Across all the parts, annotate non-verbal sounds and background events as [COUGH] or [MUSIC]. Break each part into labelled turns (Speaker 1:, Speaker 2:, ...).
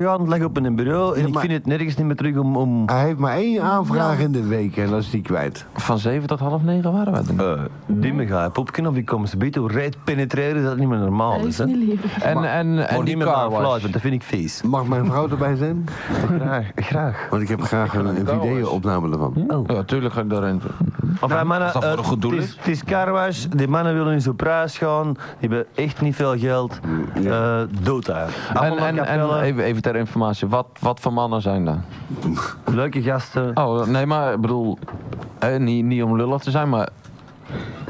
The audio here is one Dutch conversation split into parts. Speaker 1: Ja, het lag op in een bureau en
Speaker 2: Ja,
Speaker 1: ik
Speaker 2: maar-
Speaker 1: vind het nergens niet meer terug om, om...
Speaker 2: Hij heeft maar één aanvraag in de week en dat is die kwijt.
Speaker 3: Van 7 tot half 9 waren we er niet.
Speaker 1: eh dimmen ga je popken of ik kom ze beter hoe rijd penetreren dat het niet meer normaal
Speaker 4: Dat
Speaker 1: is.
Speaker 4: is
Speaker 1: Hè.
Speaker 4: niet lief.
Speaker 3: En, en, en
Speaker 1: Maar
Speaker 3: die
Speaker 1: niet meer naar
Speaker 3: car
Speaker 1: een fluit,
Speaker 3: wash.
Speaker 1: want dat vind ik vies.
Speaker 2: Mag mijn vrouw erbij zijn?
Speaker 1: Graag, graag.
Speaker 2: Want ik heb graag een, een video-opname
Speaker 1: Hm?
Speaker 2: ervan.
Speaker 3: Ja, tuurlijk ga ik daarin.
Speaker 1: Enfin, mannen,
Speaker 3: is dat voor
Speaker 1: eh,
Speaker 3: een goed doel,
Speaker 1: het is- Het is carwash, die mannen willen in zo'n prijs gaan, die hebben echt niet veel geld. Eh dood daar.
Speaker 3: En,
Speaker 1: Allemaal
Speaker 3: en, en
Speaker 1: kapellen,
Speaker 3: even, even ter informatie, wat, wat voor mannen zijn dat?
Speaker 1: leuke gasten.
Speaker 3: Oh, nee, maar ik bedoel, eh, niet, niet om lullig te zijn, maar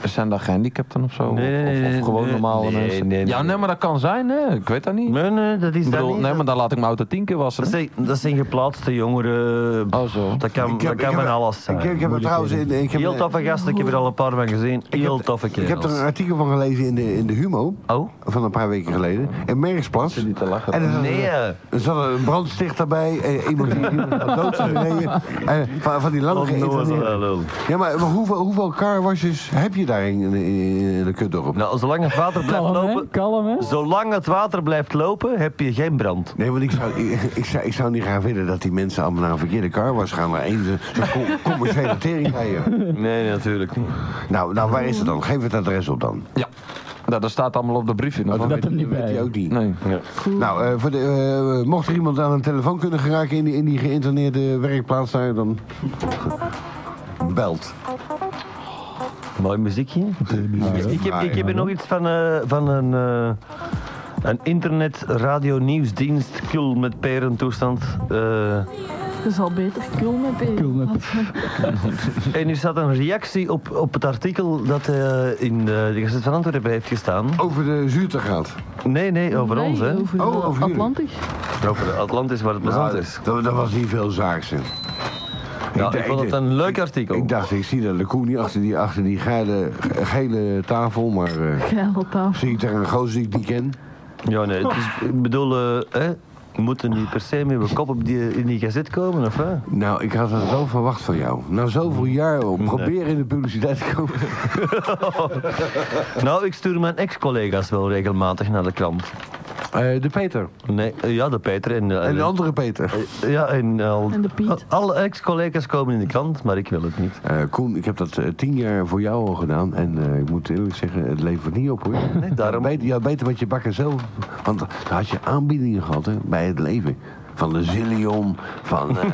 Speaker 3: zijn dat gehandicapten of zo?
Speaker 1: Nee, nee,
Speaker 3: Of- of,
Speaker 1: nee,
Speaker 3: of,
Speaker 1: nee,
Speaker 3: gewoon
Speaker 1: nee,
Speaker 3: normale
Speaker 1: nee,
Speaker 3: mensen?
Speaker 1: nee,
Speaker 3: ja,
Speaker 1: nee.
Speaker 3: nee, maar dat kan zijn, hè? Ik weet dat niet.
Speaker 1: Nee, nee, dat is
Speaker 3: ik bedoel,
Speaker 1: dat niet.
Speaker 3: nee, maar dan laat ik mijn auto tien keer wassen.
Speaker 1: dat, zijn, dat zijn geplaatste jongeren.
Speaker 3: Oh, zo.
Speaker 1: Dat kan,
Speaker 2: Ik heb-
Speaker 1: dat kan
Speaker 2: ik heb-
Speaker 1: van alles zijn.
Speaker 2: ik heb- ik heb er trouwens in- ik heb-
Speaker 1: Heel toffe gasten, ik heb er al een paar van gezien. Heel toffe
Speaker 2: Ik heb
Speaker 1: kerels.
Speaker 2: er een artikel van gelezen in de, in de Humo.
Speaker 1: Oh?
Speaker 2: Van een paar weken geleden. In Merksplas.
Speaker 3: Zit niet te lachen.
Speaker 2: En er zat-
Speaker 1: Nee, eh.
Speaker 2: Er zat een brandstichter bij. eh, Iemand die iemand had dood is gereden. En van, van die lange
Speaker 4: Oh,
Speaker 1: Oh,
Speaker 2: geïnterneerde-
Speaker 1: lul.
Speaker 2: Ja, maar hoeveel, hoeveel carwashes heb je daar in, in, in de kutdorp?
Speaker 1: Nou, zolang het water blijft
Speaker 5: Kalm, hè?
Speaker 1: lopen.
Speaker 5: Kalm, hè?
Speaker 1: Zolang het water blijft lopen, heb je geen brand.
Speaker 2: Nee, want ik zou, ik, ik zou, ik zou niet graag willen dat die mensen allemaal naar een verkeerde car was gaan. Maar één zo'n co- commerciële teringrijder.
Speaker 1: Nee, natuurlijk niet.
Speaker 2: Nou, nou, waar is het dan? Geef het adres op dan.
Speaker 3: Ja, nou, dat staat allemaal op de briefje. nog.
Speaker 2: Want
Speaker 5: dat
Speaker 2: weet-
Speaker 5: er niet
Speaker 2: weet
Speaker 5: bij.
Speaker 2: hij ook niet.
Speaker 3: Nee.
Speaker 2: Nou, eh, voor de, eh, mocht er iemand aan een telefoon kunnen geraken in die, in die geïnterneerde werkplaats daar, dan belt.
Speaker 1: Mooi muziekje. Ik heb, ik heb hier nog iets van, eh, van een, eh, een internet radio nieuwsdienst. Kul met perentoestand. Eh,
Speaker 4: Dat is al beter. Kul met P.
Speaker 5: Kul met
Speaker 1: en nu staat een reactie op, op het artikel dat eh, in de, de Gazet van Antwerpen heeft gestaan.
Speaker 2: Over de zuurtegraad.
Speaker 1: Nee, nee, over
Speaker 4: Nee,
Speaker 1: ons hè.
Speaker 4: Over
Speaker 2: Oh,
Speaker 4: de
Speaker 2: over jullie.
Speaker 4: Atlantic.
Speaker 1: Over de Atlantis waar het plezant
Speaker 2: Nou,
Speaker 1: is.
Speaker 2: Dat, dat was niet veel zaags. hè.
Speaker 1: Ja,
Speaker 2: d-
Speaker 1: ik vond
Speaker 2: d-
Speaker 1: het een leuk artikel.
Speaker 2: Ik dacht, ik zie dat de koe niet achter die, achter die geile, ge- gele tafel, maar eh,
Speaker 4: Geil tafel.
Speaker 2: zie ik daar een gozer die ik niet ken?
Speaker 1: Ja, nee, het is, ik bedoel, eh, hè, we moeten niet per se met mijn kop op die, in die gazet komen, of hè?
Speaker 2: Nou, ik had dat wel verwacht van jou. Na zoveel jaar om proberen in de publiciteit te komen.
Speaker 1: Nou, ik stuur mijn ex-collega's wel regelmatig naar de krant.
Speaker 2: [LAUGHS] Eh, de Peter.
Speaker 1: Nee, eh, ja, de Peter en... eh,
Speaker 2: En de andere Peter.
Speaker 1: ja, en, eh, al,
Speaker 4: En de Piet.
Speaker 1: Alle ex-collega's komen in de krant, maar ik wil het niet.
Speaker 2: Eh, Koen, ik heb dat eh, tien jaar voor jou al gedaan. En eh, ik moet eerlijk zeggen, het levert niet op hoor. [LAUGHS]
Speaker 1: Nee, daarom-
Speaker 2: Beter, ja, beter met je bakken zelf. Want dan had je aanbiedingen gehad hè, bij het leven. Van de Zillion, van. [LAUGHS] eh,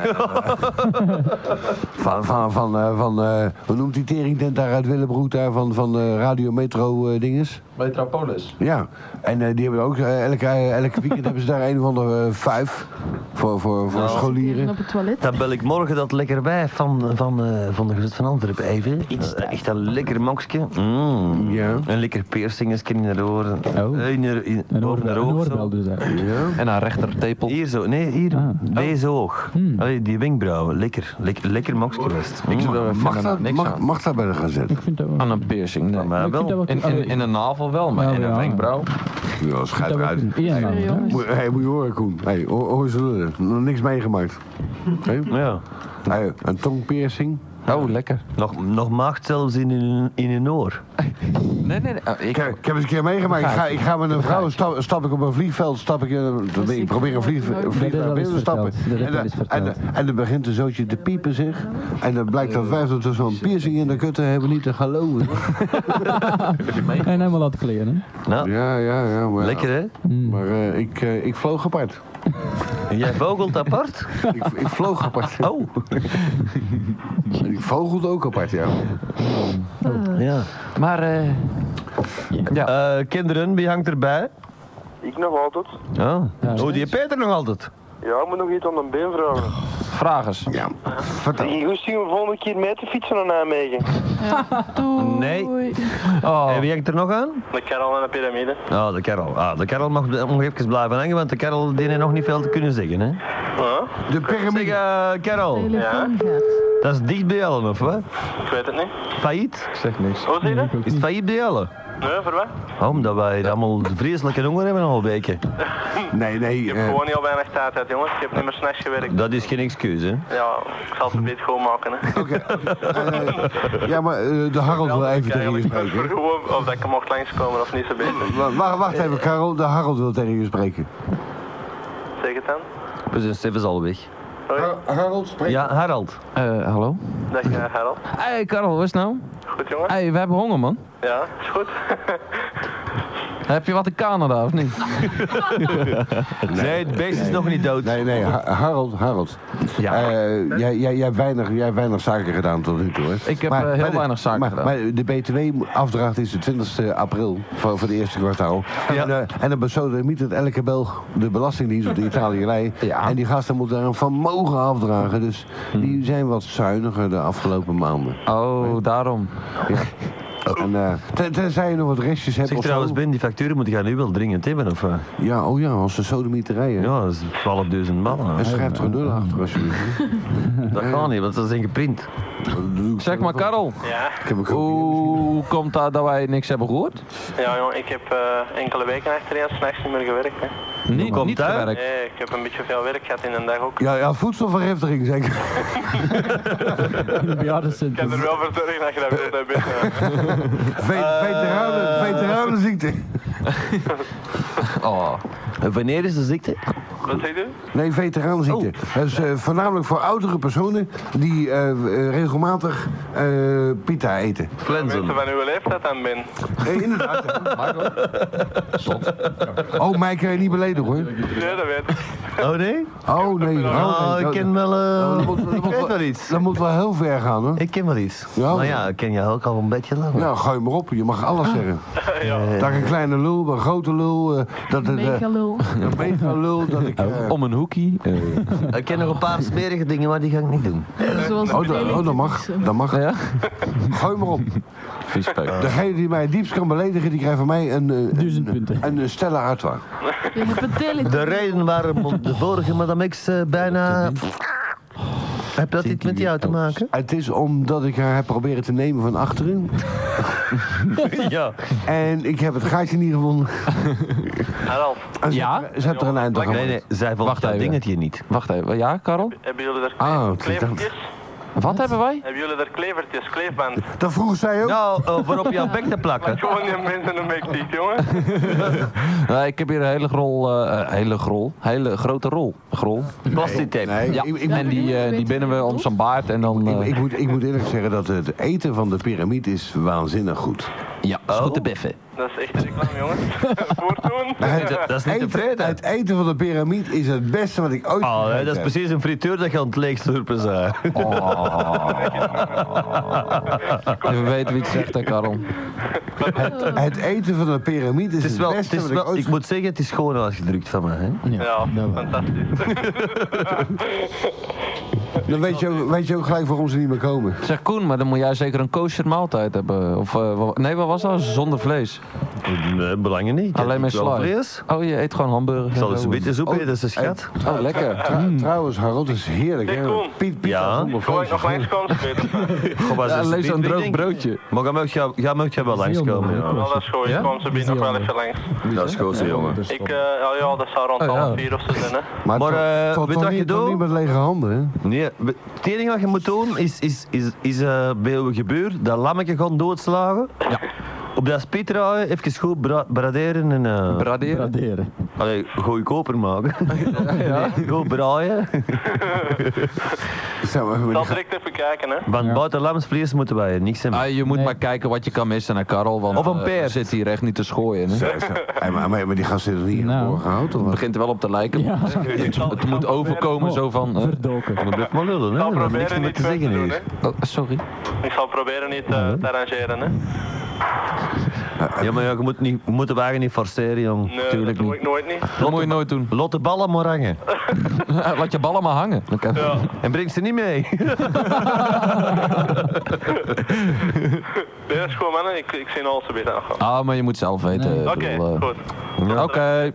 Speaker 2: van, van, van, eh, van eh, hoe noemt die teringtent daar uit Willebroek daar? Van, van eh, Radio Metro eh, dinges?
Speaker 3: Metropolis.
Speaker 2: Ja, en eh, die hebben ook, eh, elke, elke weekend hebben ze daar een of andere eh, vijf voor, voor, voor scholieren.
Speaker 4: Even op het toilet.
Speaker 1: Dan bel ik morgen dat lekker wijf van, van, eh, van de Gezet van Antwerpen even. Eh, Echt een lekker mokske. Mm.
Speaker 2: Ja.
Speaker 1: Een lekker piercingetje in haar oren.
Speaker 5: Oh.
Speaker 1: Eh, In haar, in,
Speaker 5: Een, oor,
Speaker 1: boven haar
Speaker 5: een
Speaker 1: oog, zo.
Speaker 5: oorbel dus eigenlijk.
Speaker 2: Ja.
Speaker 3: En haar rechtertepel.
Speaker 1: Hier zo, nee, hier.
Speaker 5: Ah. Hmm.
Speaker 1: Deze oog. Allee, die wenkbrauwen, lekker. Lekker, lekker mokske geweest.
Speaker 3: Ik zou
Speaker 1: Mm.
Speaker 3: daar
Speaker 2: Mag,
Speaker 3: verder
Speaker 2: dat,
Speaker 3: niks
Speaker 2: mag,
Speaker 3: aan.
Speaker 2: mag dat bij de gazet?
Speaker 5: Ik vind dat wel...
Speaker 3: Aan een piercing, nee.
Speaker 1: Maar
Speaker 5: ik
Speaker 1: wel.
Speaker 5: vind dat
Speaker 3: Ah,
Speaker 5: wel
Speaker 3: In, in, in een navel Nou wel, maar
Speaker 5: Ja,
Speaker 3: in een
Speaker 5: ja.
Speaker 3: wenkbrauw.
Speaker 2: [LAUGHS] Ja, schijt eruit.
Speaker 5: kunnen. Ja, nou,
Speaker 4: Sorry,
Speaker 5: ja.
Speaker 4: jongens.
Speaker 2: Moet- hey, moet je horen, Koen. Hey, hoor, hoor ze lullen. Nog niks meegemaakt. Hé,
Speaker 1: Ja.
Speaker 2: Hey, een tongpiercing.
Speaker 3: Oh, lekker.
Speaker 1: Nog, nog maagd zelfs in hun, in hun oor.
Speaker 3: Nee, nee, nee. oh,
Speaker 2: Ik,
Speaker 3: ik,
Speaker 2: ik heb eens een keer meegemaakt. Ik ga, ik ga met een vrouw, stap, stap ik op een vliegveld, stap ik, eh, ik probeer een vlieg-
Speaker 4: Dat is
Speaker 2: vliegtuig
Speaker 5: wel eens
Speaker 2: binnen te stappen.
Speaker 5: verteld. Dat heb
Speaker 2: En,
Speaker 5: je
Speaker 2: dan-
Speaker 5: eens
Speaker 2: en,
Speaker 5: verteld.
Speaker 2: dan- en dan begint een zootje te piepen zich. En dan blijkt dat wij er zo'n piercing in de kutten hebben niet te geloven.
Speaker 5: En helemaal laten kleren, hè?
Speaker 1: Nou,
Speaker 2: Ja, ja, ja. Maar,
Speaker 1: lekker hè?
Speaker 2: Maar eh, ik, eh, ik vloog apart.
Speaker 1: En jij vogelt apart?
Speaker 2: ik, ik
Speaker 1: [LAUGHS]
Speaker 2: vloog apart.
Speaker 1: Oh.
Speaker 2: En ik vogelde ook apart, ja.
Speaker 1: Ja.
Speaker 3: maar, eh ja.
Speaker 1: Eh, kinderen, wie hangt erbij?
Speaker 6: Ik nog altijd.
Speaker 1: Oh,
Speaker 5: Ja.
Speaker 1: oh die Peter nog altijd.
Speaker 6: Ja, ik moet nog iets aan mijn been vragen.
Speaker 3: Vragers.
Speaker 2: Ja, vertel.
Speaker 6: Ik hoest zien we volgende keer mee te fietsen naar Nijmegen.
Speaker 4: Doei.
Speaker 1: Nee.
Speaker 3: Oh,
Speaker 1: En wie hangt er nog aan?
Speaker 6: De Karel en de piramide.
Speaker 1: Oh, de Karel. Ah, de Karel mag nog even blijven hangen, want de Karel die heeft nog niet veel te kunnen zeggen. Hè?
Speaker 6: Huh?
Speaker 2: De
Speaker 1: Zeg,
Speaker 2: piramide.
Speaker 1: eh, Karel,
Speaker 4: Telefoon gaat.
Speaker 1: dat is dicht bij Ellen, of wat?
Speaker 6: Ik weet het niet.
Speaker 1: Failliet?
Speaker 3: ik zeg niks.
Speaker 6: Hoe zie je dat?
Speaker 1: Is het failliet bij Ellen?
Speaker 6: Nee, voor wat?
Speaker 1: Oh, omdat wij hier allemaal vreselijke honger hebben al weken.
Speaker 2: Nee, nee.
Speaker 6: Ik heb
Speaker 2: eh,
Speaker 6: gewoon heel weinig tijd uit, jongens. Ik heb niet meer s'nachts gewerkt.
Speaker 1: Dat is geen excuus, hè?
Speaker 6: Ja, ik zal het een beetje schoonmaken, hè.
Speaker 2: Oké. Eh, ja, maar eh, de Harold wil even tegen je
Speaker 1: eh,
Speaker 6: eigenlijk
Speaker 2: spreken.
Speaker 6: voor gewoon of dat ik mocht langskomen of niet, zo beter.
Speaker 2: Wa- Wacht, wacht even, Karel. De Harold wil tegen je spreken.
Speaker 6: Zeg het. dan?
Speaker 1: We zijn Stef is al weg.
Speaker 2: Ha- Harold, spreek.
Speaker 1: Ja, Harald.
Speaker 3: Eh, hallo?
Speaker 6: Dag eh, Harold.
Speaker 3: Hey Karel, hoe is het nou?
Speaker 6: Goed jongen?
Speaker 3: Hey, we hebben honger man.
Speaker 6: Ja, is goed.
Speaker 3: Heb je wat in Canada of niet?
Speaker 1: Nee, het beest is nog niet dood.
Speaker 2: Nee, nee, Ha- Harold, Harold.
Speaker 1: Ja.
Speaker 2: Eh, jij, jij, jij, hebt weinig, jij hebt weinig zaken gedaan tot nu toe, hè?
Speaker 3: Ik heb, eh, heel
Speaker 2: de-
Speaker 3: weinig zaken
Speaker 2: maar,
Speaker 3: gedaan.
Speaker 2: Maar de BTW-afdracht is de 20 april voor, voor de eerste kwartaal.
Speaker 1: Ja.
Speaker 2: En, eh, en dan besodemiet het elke Belg de belastingdienst op de Italiërij.
Speaker 3: Ja. Hmm.
Speaker 2: En die gasten moeten daar een vermogen afdragen. Dus die zijn wat zuiniger de afgelopen maanden.
Speaker 3: Oh, daarom.
Speaker 2: Ja.
Speaker 3: Oh.
Speaker 2: En, eh, ten- tenzij je nog wat restjes hebt
Speaker 1: Zeg
Speaker 2: of zo.
Speaker 1: trouwens, Ben, die facturen moet jij nu wel dringend hebben, of? eh?
Speaker 2: Ja, oh ja, als de sodemieterijen.
Speaker 1: Ja, dat is 12.000 man.
Speaker 2: En schrijf er een nul achter alsjeblieft.
Speaker 3: [LAUGHS]
Speaker 1: Dat gaat niet, want dat is geprint.
Speaker 3: Zeg maar Karel,
Speaker 6: Ja,
Speaker 2: Ik heb een
Speaker 3: hoe komt dat dat wij niks hebben gehoord?
Speaker 6: ja jongen, ik heb eh, enkele weken achtereen s'nachts niet meer gewerkt. Hè.
Speaker 3: Niet,
Speaker 1: komt
Speaker 3: niet
Speaker 1: dat?
Speaker 3: gewerkt.
Speaker 6: Nee, ik heb een beetje veel werk gehad in een dag ook.
Speaker 2: Ja, ja, voedselvergiftiging zeker.
Speaker 5: In het [LAUGHS]
Speaker 6: Ik kan er
Speaker 5: bejaardencentrum.
Speaker 6: wel voor zorgen dat je dat wilt hebben. eh.
Speaker 2: Ve veteranen, veteranenziekte.
Speaker 3: Oh.
Speaker 1: En wanneer is de ziekte?
Speaker 6: Wat zeg je?
Speaker 2: Nee, veteranenziekte. Dat is eh, voornamelijk voor oudere personen die eh, eh, regelmatig eh, pita eten.
Speaker 1: Flensen.
Speaker 6: Mensen van uw leeftijd dan ben.
Speaker 2: Eh, inderdaad. Oh, mij kan je niet beledigen hoor.
Speaker 6: Nee, dat weet ik.
Speaker 1: Oh nee?
Speaker 2: Oh nee. Oh,
Speaker 1: Oh,
Speaker 2: nee.
Speaker 1: ik ken wel... eh,
Speaker 2: Oh, dat moet-
Speaker 1: ik
Speaker 2: dat moet
Speaker 1: weet
Speaker 2: wel-
Speaker 1: wel iets.
Speaker 2: Dat moet wel heel ver gaan hoor.
Speaker 1: Ik ken wel iets.
Speaker 2: Ja,
Speaker 1: nou ja, ik ken jou ook al een beetje lang.
Speaker 2: Nou, gooi maar op. Je mag alles zeggen.
Speaker 1: Eh,
Speaker 2: Dat ik een kleine lul, een grote lul, eh, dat het eh, [LAUGHS]
Speaker 4: Megalul.
Speaker 2: een mega lul, dat ik... eh,
Speaker 3: Om een hoekie. eh.
Speaker 1: ik ken nog een paar smerige dingen, maar die ga ik niet doen.
Speaker 4: Zoals
Speaker 2: Oh, dat,
Speaker 4: Felix
Speaker 2: oh, dat mag.
Speaker 4: Dixon.
Speaker 2: Dat mag.
Speaker 3: ja?
Speaker 2: Gooi maar op.
Speaker 3: Vies peuk.
Speaker 2: Degene die mij het diepst kan beledigen, die krijgt van mij een... eh,
Speaker 5: Duizend
Speaker 2: een,
Speaker 5: punten.
Speaker 2: een, eh, Stella Artois.
Speaker 4: Je hebt een telefoon.
Speaker 1: De reden waarom de vorige Madame X eh, bijna... Heb dat iets met jou te maken?
Speaker 2: Het is omdat ik haar heb proberen te nemen van achteren.
Speaker 1: Ja.
Speaker 2: En ik heb het gaatje niet gevonden.
Speaker 6: Harald,
Speaker 2: En ze
Speaker 3: Ja?
Speaker 2: heeft er- Ze hebt er een eind aan
Speaker 1: Nee, nee,
Speaker 2: gemaakt.
Speaker 1: zij vond
Speaker 3: Wacht
Speaker 1: dat
Speaker 3: even.
Speaker 1: dingetje niet.
Speaker 3: Wacht even, ja Karel?
Speaker 6: hebben jullie daar
Speaker 2: Ah,
Speaker 6: kle- klevertjes?
Speaker 3: Wat hebben wij?
Speaker 6: Hebben jullie daar klevertjes, kleefband?
Speaker 2: Dat vroeg zij ook.
Speaker 1: Nou, eh, voor op jouw bek te plakken.
Speaker 6: Gewoon die mensen een beetje dicht, jongen.
Speaker 3: Nee, Nou, ik heb hier een hele grol, eh, eh, hele grol, hele grote rol. Grol.
Speaker 1: Plastic tape.
Speaker 2: Nee,
Speaker 3: Ja,
Speaker 2: ik, ik,
Speaker 3: en die, eh, die binden we om zijn baard en dan...
Speaker 2: ik,
Speaker 3: eh,
Speaker 2: ik moet, ik moet eerlijk zeggen dat het eten van de piramide is waanzinnig goed.
Speaker 3: ja,
Speaker 1: Oh.
Speaker 3: is goed te beffen.
Speaker 6: Dat is echt reclame, jongens. Voortdoen.
Speaker 1: Dat, dat is niet
Speaker 2: Eten,
Speaker 1: tevreden.
Speaker 2: het eten van de piramide is het beste wat ik ooit
Speaker 1: Oh, hè,
Speaker 2: gegeten
Speaker 1: dat is
Speaker 2: heb.
Speaker 1: precies een frituur dat je aan het leegslurpen zijn.
Speaker 3: Even eh, weten wie het zegt
Speaker 1: [LAUGHS]
Speaker 3: hè Karel.
Speaker 2: Het, het eten van de piramide
Speaker 1: Het
Speaker 2: is het,
Speaker 1: is wel, het
Speaker 2: beste
Speaker 1: is
Speaker 2: wat ik
Speaker 1: wel,
Speaker 2: ooit
Speaker 1: ik moet zeggen, het is gewoon uitgedrukt van mij. Hè?
Speaker 6: Ja,
Speaker 5: dat wel.
Speaker 6: fantastisch.
Speaker 2: Dan weet je, ook, weet je ook gelijk waarom ze niet meer komen.
Speaker 3: Zeg Koen, maar dan moet jij zeker een kosher maaltijd hebben. Of, eh, wa- nee, wat was dat? Zonder vlees.
Speaker 1: Nee, belangen niet. Ik
Speaker 3: Alleen
Speaker 1: heb
Speaker 3: maar
Speaker 1: wel
Speaker 3: sla.
Speaker 1: vlees.
Speaker 3: Oh, je eet gewoon hamburger.
Speaker 1: Ik zal eens een beetje soep eten, dat is een schat.
Speaker 3: Oh, lekker.
Speaker 2: Tra- Trouwens, Harold, dat is heerlijk.
Speaker 6: Hey,
Speaker 2: hè?
Speaker 6: Koen.
Speaker 2: Piet, Piet,
Speaker 1: Hmm. Ja?
Speaker 2: dat is
Speaker 6: Gewoon
Speaker 2: vlees.
Speaker 6: nog langskomen, Peter.
Speaker 1: Kom maar
Speaker 3: Ja,
Speaker 1: eens
Speaker 3: alleen
Speaker 1: een
Speaker 3: zo'n
Speaker 1: bier
Speaker 3: droog
Speaker 1: drinken.
Speaker 3: broodje.
Speaker 1: Maar jij mag, jij- jij mag jij wel
Speaker 5: is heel
Speaker 1: langskomen.
Speaker 5: moeilijk.
Speaker 1: Ja.
Speaker 6: Nou, dat is goed.
Speaker 3: Ja?
Speaker 6: Kom, ze binnen nog wel even langs.
Speaker 1: Dat is gewoon zo, jongen.
Speaker 6: Ik, eh, ja, ja, dat zou rond
Speaker 3: Oh, ja.
Speaker 6: half vier of zo zijn, hè.
Speaker 2: Dus- Maar,
Speaker 1: Maar,
Speaker 2: toch-
Speaker 1: eh,
Speaker 2: toch-
Speaker 1: weet
Speaker 2: toch
Speaker 1: wat je
Speaker 2: niet- toch
Speaker 1: doet?
Speaker 2: niet met lege handen, hè?
Speaker 1: Nee, we- het enige wat je moet doen is, is, is, is eh, bij uw gebuur dat lammetje gaan doodslagen. Ja. Op dat spit draaien, even goed bra- braderen en... eh,
Speaker 3: Braderen.
Speaker 5: Raderen.
Speaker 1: Allee, goedkoper maken. Goed braaien.
Speaker 2: Zeg maar,
Speaker 6: Ik
Speaker 2: even
Speaker 6: zal
Speaker 2: met die-
Speaker 6: direct even kijken, hè.
Speaker 1: Want buiten lamsvlees moeten wij niks hebben.
Speaker 3: Ah, je moet
Speaker 5: Nee.
Speaker 3: maar kijken wat je kan missen naar Karel, want
Speaker 1: Of een
Speaker 3: eh,
Speaker 1: peer.
Speaker 3: er zit hier echt niet te schooien. Hè?
Speaker 2: Zeg, zeg, hey, maar, maar, maar die gasten is er niet
Speaker 5: Nou.
Speaker 2: voor gehouden, of
Speaker 3: Het
Speaker 2: wat?
Speaker 3: begint er wel op te lijken.
Speaker 5: Ja. Oh,
Speaker 6: Ik zal-
Speaker 3: Het
Speaker 6: ik
Speaker 3: moet
Speaker 6: zal
Speaker 3: overkomen zo van... eh,
Speaker 5: Verdoken.
Speaker 1: Blijf maar lullen, hè.
Speaker 6: proberen- Ik zal
Speaker 1: We hebben niks meer
Speaker 6: proberen niet
Speaker 1: te
Speaker 6: te
Speaker 1: zeggen
Speaker 6: doen,
Speaker 1: hier.
Speaker 6: hè.
Speaker 3: oh, sorry.
Speaker 6: Ik zal proberen niet eh, te arrangeren, hè.
Speaker 1: Ja, maar ja, je moet, niet, je moet de wagen niet forceren, jong.
Speaker 6: Nee, dat
Speaker 3: Tuurlijk
Speaker 6: doe
Speaker 3: niet.
Speaker 6: ik nooit niet.
Speaker 3: Dat moet je nooit doen. [LAUGHS]
Speaker 1: Lot de ballen maar hangen.
Speaker 3: Laat je ballen maar hangen. Oké.
Speaker 6: Ja.
Speaker 1: En breng ze niet mee.
Speaker 6: Nee, dat is goed, mannen. Ik, ik zie al zo binnen. Oké,
Speaker 3: Ah, maar je moet zelf weten. ik bedoel, eh,
Speaker 1: [LAUGHS]
Speaker 6: goed.
Speaker 3: Oké.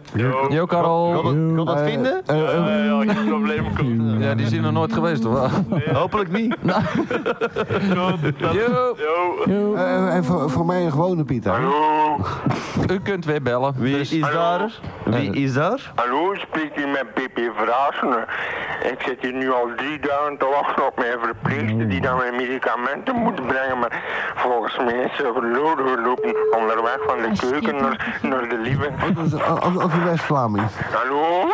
Speaker 3: Yo, Karel.
Speaker 1: Kon dat vinden?
Speaker 6: Eh, ja, geen probleem. Goed.
Speaker 3: Ja, die zijn er nooit geweest, hoor.
Speaker 1: Hopelijk niet.
Speaker 6: Goed, dat-
Speaker 3: Yo,
Speaker 6: Yo.
Speaker 2: Eh, eh, en voor, voor mij een gewone pita. hè?
Speaker 6: Hallo.
Speaker 3: u kunt weer bellen.
Speaker 1: Wie
Speaker 3: Dus-
Speaker 1: is daar? Wie is daar?
Speaker 7: Hallo, spreekt u met Pippi Vraassen. Ik zit hier nu al drie dagen te wachten op mijn verpleegster die dan mijn medicamenten moet brengen. Maar volgens mij is ze verloren gelopen onderweg van de
Speaker 4: Hij
Speaker 7: keuken
Speaker 4: stiert
Speaker 7: naar, naar de living.
Speaker 2: anders, als, als een West-Vlaming.
Speaker 6: Hallo?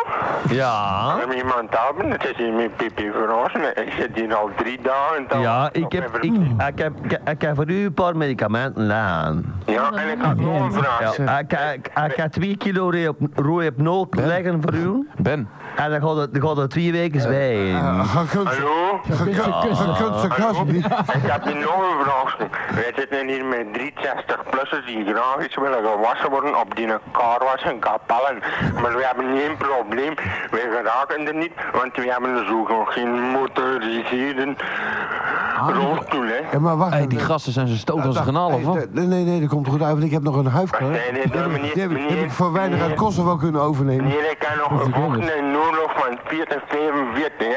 Speaker 1: Ja.
Speaker 6: Kan iemand helpen? Het is hier met Pipi Verhaasen. Ik zit hier al drie dagen. te
Speaker 1: Ja,
Speaker 6: wachten
Speaker 1: ik
Speaker 6: op
Speaker 1: heb,
Speaker 6: mijn
Speaker 1: ik,
Speaker 6: verplicht-
Speaker 1: ik, heb, ik, ik heb voor u een paar medicamenten liggen.
Speaker 6: Ja, en ik had nog een vraag.
Speaker 1: Ja, ik, ik, ik heb twee kilo roeipnoot leggen voor u.
Speaker 3: Ben,
Speaker 1: En dan gaat het, dan gaat het twee weken bij.
Speaker 2: Ga kunt ze-
Speaker 6: Hallo?
Speaker 2: ga kunt- ga kunt ze
Speaker 6: Hallo?
Speaker 2: alsjeblieft.
Speaker 6: Ik heb hier nog een vraag. Wij zitten hier met 63-plussers die graag eens willen gewassen worden op die karwas en kapellen. Maar we hebben geen probleem. Wij geraken er niet, want we hebben zo nog geen motoriseerde rolstoel, hè.
Speaker 2: Ja, maar wacht
Speaker 3: hey,
Speaker 2: even.
Speaker 3: die gasten zijn zo stoot als een
Speaker 2: Dag,
Speaker 3: kanaal,
Speaker 2: hey,
Speaker 3: of wat?
Speaker 2: d- Nee, nee, nee, dat komt goed uit, want ik heb nog een huifkar.
Speaker 6: Nee, nee,
Speaker 2: Die heb ik-
Speaker 6: meneer,
Speaker 2: die heb ik- die heb ik
Speaker 6: meneer,
Speaker 2: voor weinig uit
Speaker 6: meneer.
Speaker 2: Kosovo kunnen overnemen.
Speaker 6: Nee, ik kan nog gevochten in oorlog van 40, 45, hè.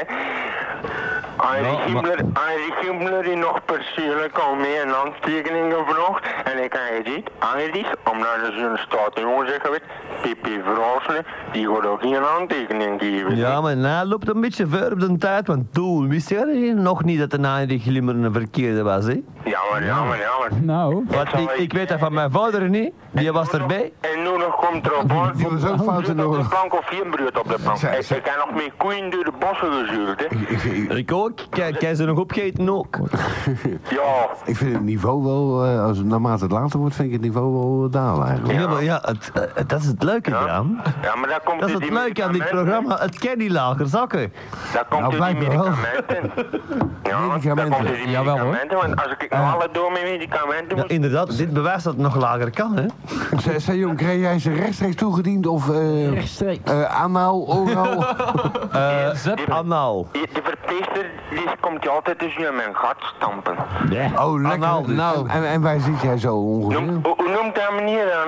Speaker 6: Henry
Speaker 1: Ja,
Speaker 6: Himmler, Henry Himmler die nog persoonlijk al mee een handtekening gevraagd. En ik heb gezien, Henry, omdat hij zo'n stadion zeggen weet, Pipi Vraassen, die gaat ook geen handtekening geven.
Speaker 1: Ja, maar na loopt een beetje ver op de tijd, want toen wist je nog niet dat de Nijnri Glimmer een verkeerde was, hè?
Speaker 6: Jammer, jammer, jammer.
Speaker 5: Nou,
Speaker 1: Want ik, ik weet dat van mijn vader niet, die was erbij.
Speaker 6: En nu nog komt er op aan.
Speaker 2: Die was ook fout in de
Speaker 6: op de
Speaker 2: oorlog.
Speaker 6: plank of geen brood op de plank.
Speaker 2: Zij-
Speaker 6: Ik
Speaker 2: zij-
Speaker 6: ik heb nog meer koeien door de bossen gezuurd, hè.
Speaker 2: Ik, ik, vind-
Speaker 1: Ik ook, kijk, kijk ze nog opgeten ook.
Speaker 6: Ja,
Speaker 2: ik vind het niveau wel, eh, als, naarmate het later wordt, vind ik het niveau wel eh, dalen eigenlijk.
Speaker 1: Ja, maar ja, het, eh, dat is het leuke eraan.
Speaker 6: ja maar dat komt
Speaker 1: Dat is
Speaker 6: door
Speaker 1: het
Speaker 6: die
Speaker 1: leuke aan dit
Speaker 6: medicamenten.
Speaker 1: programma, het kan niet lager zakken.
Speaker 6: Dat komt
Speaker 2: Nou,
Speaker 6: door die
Speaker 2: blijkbaar wel.
Speaker 6: medicamenten. Ja, want dat komt door
Speaker 2: Medicamenten.
Speaker 6: die
Speaker 3: Jawel, hoor.
Speaker 6: medicamenten, want als ik nou alle door mijn medicamenten
Speaker 1: Ja,
Speaker 6: moet...
Speaker 1: inderdaad, dit bewijst dat het nog lager kan, hè?
Speaker 2: Sa- Sajong, kreeg jij ze rechtstreeks toegediend of eh
Speaker 4: Rechtstreeks.
Speaker 2: eh, anaal, oral?
Speaker 1: Anaal.
Speaker 6: Die- De verpleegster die komt je altijd tussen in mijn gat stampen.
Speaker 2: [LAUGHS] Oh, lekker.
Speaker 1: Anaal dus.
Speaker 2: Nou, en, en waar zit jij zo
Speaker 6: Noem,
Speaker 2: ongeveer?
Speaker 6: hoe, hoe noemt dat meneer nou?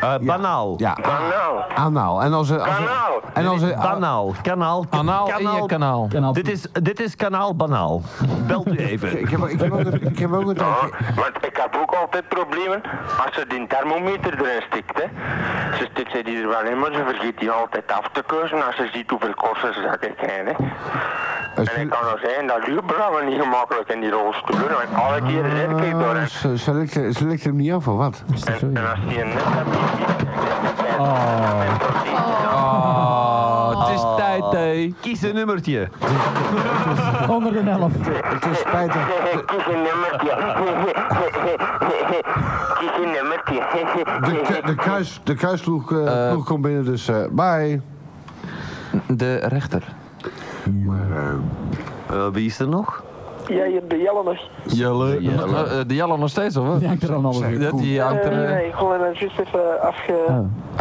Speaker 6: Kanaal?
Speaker 1: Eh, banaal.
Speaker 2: Ja, a-
Speaker 6: Kanaal.
Speaker 2: anaal. En als er... Als er
Speaker 6: Kanaal.
Speaker 2: en als er...
Speaker 1: Banaal. Kanaal.
Speaker 3: Kanaal in je kanaal.
Speaker 5: kanaal.
Speaker 1: Dit is, dit is kanaal banaal. Belt u
Speaker 2: Ik
Speaker 1: even.
Speaker 2: heb, ik heb ook een, ik heb ook een
Speaker 6: Ja,
Speaker 2: tijdje...
Speaker 6: Oh, want ik heb ook altijd problemen als ze die thermometer erin stikt. Hè. Ze stikt ze die er wel in, maar ze vergeet die altijd af te keuzen als ze ziet hoeveel kosten ze dat ik heb. Hè. En
Speaker 2: Eh,
Speaker 6: ik kan nog zeggen dat u braven niet gemakkelijk in die rolstoelen, want alle keer red ik door
Speaker 2: Ah,
Speaker 6: hen.
Speaker 2: Ze ze likt er- ze likt hem niet af, of wat?
Speaker 6: En, en als die een net hebt,
Speaker 3: Oh, het is tijd, hé.
Speaker 1: Kies een nummertje.
Speaker 5: onder de elf.
Speaker 2: Het is spijtig.
Speaker 6: kies een nummertje. Kies een nummertje.
Speaker 2: De, ku- de, kruis, de kruisploeg eh, ploeg komt binnen, dus eh, bye.
Speaker 3: De rechter.
Speaker 1: Eh, wie is er nog?
Speaker 8: Ja, je de Jelle nog.
Speaker 3: Jelle. Eh, eh, De Jelle nog steeds, of
Speaker 5: Die
Speaker 3: wat?
Speaker 5: hangt er dan al
Speaker 2: Zeg,
Speaker 5: weer.
Speaker 3: Dat die hangt er...
Speaker 8: Eh,
Speaker 3: eh.
Speaker 8: nee, gewoon eh, juist even afge...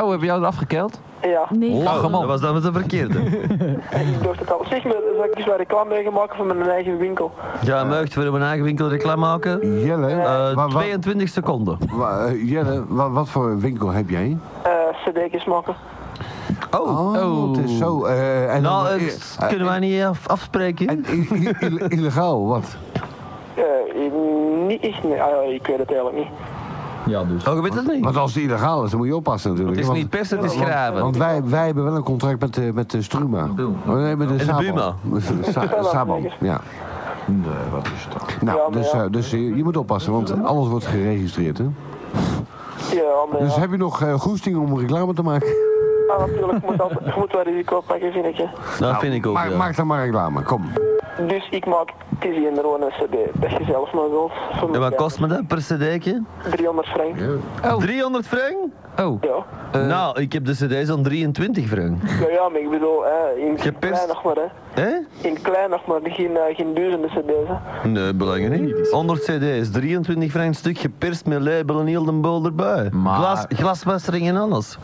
Speaker 3: Oh, hebben jou het afgekeld?
Speaker 8: Ja,
Speaker 4: Nee,
Speaker 3: Lach
Speaker 1: Oh,
Speaker 3: hem
Speaker 1: dat
Speaker 3: op.
Speaker 1: was dan met de verkeerde.
Speaker 8: ik dacht het al. Zeg maar, zou ik eens wat reclame mee gaan maken van mijn eigen winkel?
Speaker 1: Ja, Meugt, willen we een eigen winkel reclame maken?
Speaker 2: Jelle,
Speaker 1: Eh,
Speaker 2: wa- wa-
Speaker 1: 22 seconden.
Speaker 2: wa- eh, Jelle wa- wat voor winkel heb jij?
Speaker 8: Eh cd's maken.
Speaker 1: Oh,
Speaker 2: Oh, het is zo. eh, en
Speaker 1: nou,
Speaker 2: dan-
Speaker 1: eh,
Speaker 2: eh,
Speaker 1: s- kunnen wij niet af- afspreken?
Speaker 2: en i- i- i- illegaal, wat?
Speaker 8: Eh, ik- niet echt, nee. Ah, ja, ik weet het eigenlijk niet.
Speaker 5: Ja, dus.
Speaker 1: Oh, je weet het niet.
Speaker 2: Want als het illegaal is, dan moet je oppassen natuurlijk.
Speaker 1: Het is
Speaker 2: want,
Speaker 1: niet persen, het is
Speaker 2: want-
Speaker 1: graven.
Speaker 2: Want wij, wij hebben wel een contract met, eh, met de Struma. Oh, Nee, met de
Speaker 1: de
Speaker 2: Sabal.
Speaker 1: Buma.
Speaker 2: Sa- Sabal, ja.
Speaker 8: Ja,
Speaker 2: Nou,
Speaker 8: maar
Speaker 2: dus,
Speaker 8: ja.
Speaker 2: eh, dus je, je moet oppassen, want alles wordt geregistreerd, hè?
Speaker 8: Ja, maar
Speaker 2: Dus
Speaker 8: ja.
Speaker 2: heb je nog eh, goesting om reclame te maken?
Speaker 8: Ah, natuurlijk, ik moet, altijd, ik moet wel risico pakken, vind ik. Hè.
Speaker 1: Dat vind ik ook,
Speaker 2: Maak,
Speaker 1: ja.
Speaker 2: maak dan maar reclame, kom.
Speaker 8: Dus ik maak Tizzy en Roon een cd. Dat je zelf maar wilt. Voor
Speaker 1: En wat
Speaker 8: elkaar.
Speaker 1: kost me dat per cd'tje?
Speaker 8: 300 frank. Ja.
Speaker 1: 300 frank?
Speaker 3: Oh,
Speaker 8: Ja,
Speaker 1: nou, ik heb de cd's aan 23 frank.
Speaker 8: ja, maar ik bedoel, eh, in
Speaker 1: Je pest.
Speaker 8: klein nog maar, hè.
Speaker 1: Hè?
Speaker 8: In klein nog maar, geen, eh, geen durende cd's, hè.
Speaker 1: Nee, belangrijk niet. 100 cd's, 23 frank stuk, geperst met label en heel de boel erbij.
Speaker 3: Maar-
Speaker 1: Glas, glaswassering en alles.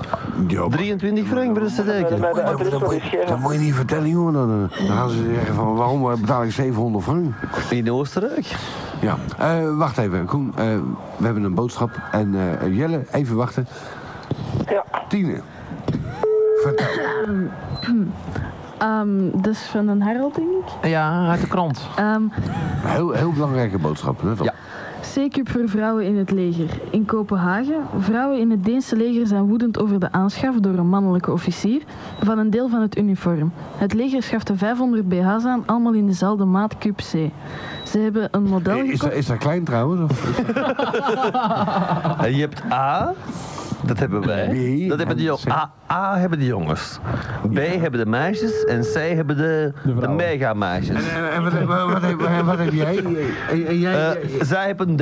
Speaker 1: 23 frank voor een
Speaker 8: Met
Speaker 1: cd'tje.
Speaker 8: de adres
Speaker 2: Dat
Speaker 8: wel
Speaker 2: moet,
Speaker 8: eens
Speaker 2: je, dat
Speaker 8: geven.
Speaker 2: moet je niet vertellen, jongen. Dan, eh, dan gaan ze zeggen van waarom eh, betaal ik 700 frank?
Speaker 1: In Oostenrijk?
Speaker 2: Ja, eh, wacht even, Koen. eh, we hebben een boodschap. En eh, Jelle, even wachten.
Speaker 8: Ja.
Speaker 2: Tine. Vertel.
Speaker 4: ehm, dat is van een Harold, denk ik.
Speaker 3: ja, uit de krant.
Speaker 4: Ehm,
Speaker 2: Heel, heel belangrijke boodschap, let op.
Speaker 3: Ja.
Speaker 4: Zeker voor vrouwen in het leger. In Kopenhagen, vrouwen in het Deense leger zijn woedend over de aanschaf door een mannelijke officier van een deel van het uniform. Het leger schafte 500 BH's aan, allemaal in dezelfde maat cube C. Ze hebben een model
Speaker 2: Eh, Is,
Speaker 4: gekocht-
Speaker 2: dat, is dat klein trouwens? Of?
Speaker 1: En je hebt A, Dat hebben wij.
Speaker 2: B
Speaker 1: dat hebben de
Speaker 2: en
Speaker 1: jong- A, A hebben de jongens. B hebben de meisjes. En C hebben de, de,
Speaker 5: vrouwen.
Speaker 1: mega-meisjes.
Speaker 2: En, en Eh, wat, heb- wat, heb- wat, heb jij? En, en jij
Speaker 1: Eh, zij hebben een D.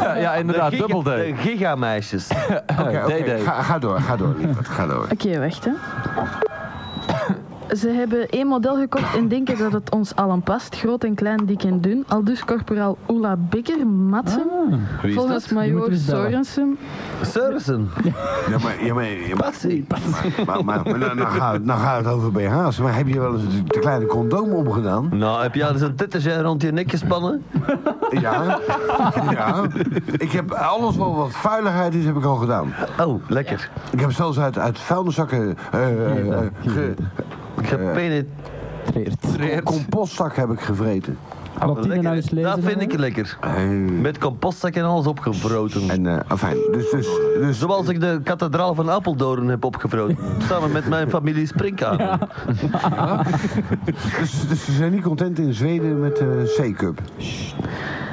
Speaker 3: Ja, ja inderdaad,
Speaker 1: de giga-
Speaker 3: dubbel D.
Speaker 1: De giga-meisjes.
Speaker 2: Oké, oké,
Speaker 3: DD.
Speaker 2: Ga, ga door, ga door, lieverd, ga door.
Speaker 4: Oké, wacht hè. Ze hebben één model gekocht en denken dat het ons allen past. Groot en klein, dik en dun. Al dus corporaal Oela Bikker, Matsen. volgens
Speaker 5: Die moeten
Speaker 4: major
Speaker 5: we eens bellen.
Speaker 4: Sorensen.
Speaker 1: Sørensen.
Speaker 2: Ja, maar, ja, maar, ja, maar,
Speaker 1: Passie.
Speaker 2: maar, maar, maar nou, nou, gaat, nou gaat het over BH's. Maar heb je wel eens de, de kleine condoom omgedaan?
Speaker 1: Nou, heb jij dus een tittetje rond je nek gespannen?
Speaker 2: Ja. ja. Ik heb alles wel wat vuiligheid is, heb ik al gedaan.
Speaker 1: Oh, lekker.
Speaker 2: Ik heb zelfs uit, uit vuilniszakken... eh, eh, eh, ge-
Speaker 1: Gepenetreerd.
Speaker 2: compostzak heb ik gevreten.
Speaker 3: Ah,
Speaker 5: Wat die er nou eens
Speaker 1: Lekker.
Speaker 5: lezen
Speaker 1: Dat vind ik
Speaker 5: dan?
Speaker 1: lekker.
Speaker 2: Eh,
Speaker 1: Met compostzak en alles opgevroten.
Speaker 2: En, eh enfin, dus, dus, dus,
Speaker 1: Zoals ik de kathedraal van Apeldoorn heb
Speaker 2: [LAUGHS]
Speaker 1: opgevroten. Samen met mijn familie Sprinkaan.
Speaker 2: dus, dus ze zijn niet content in Zweden met eh C-cup.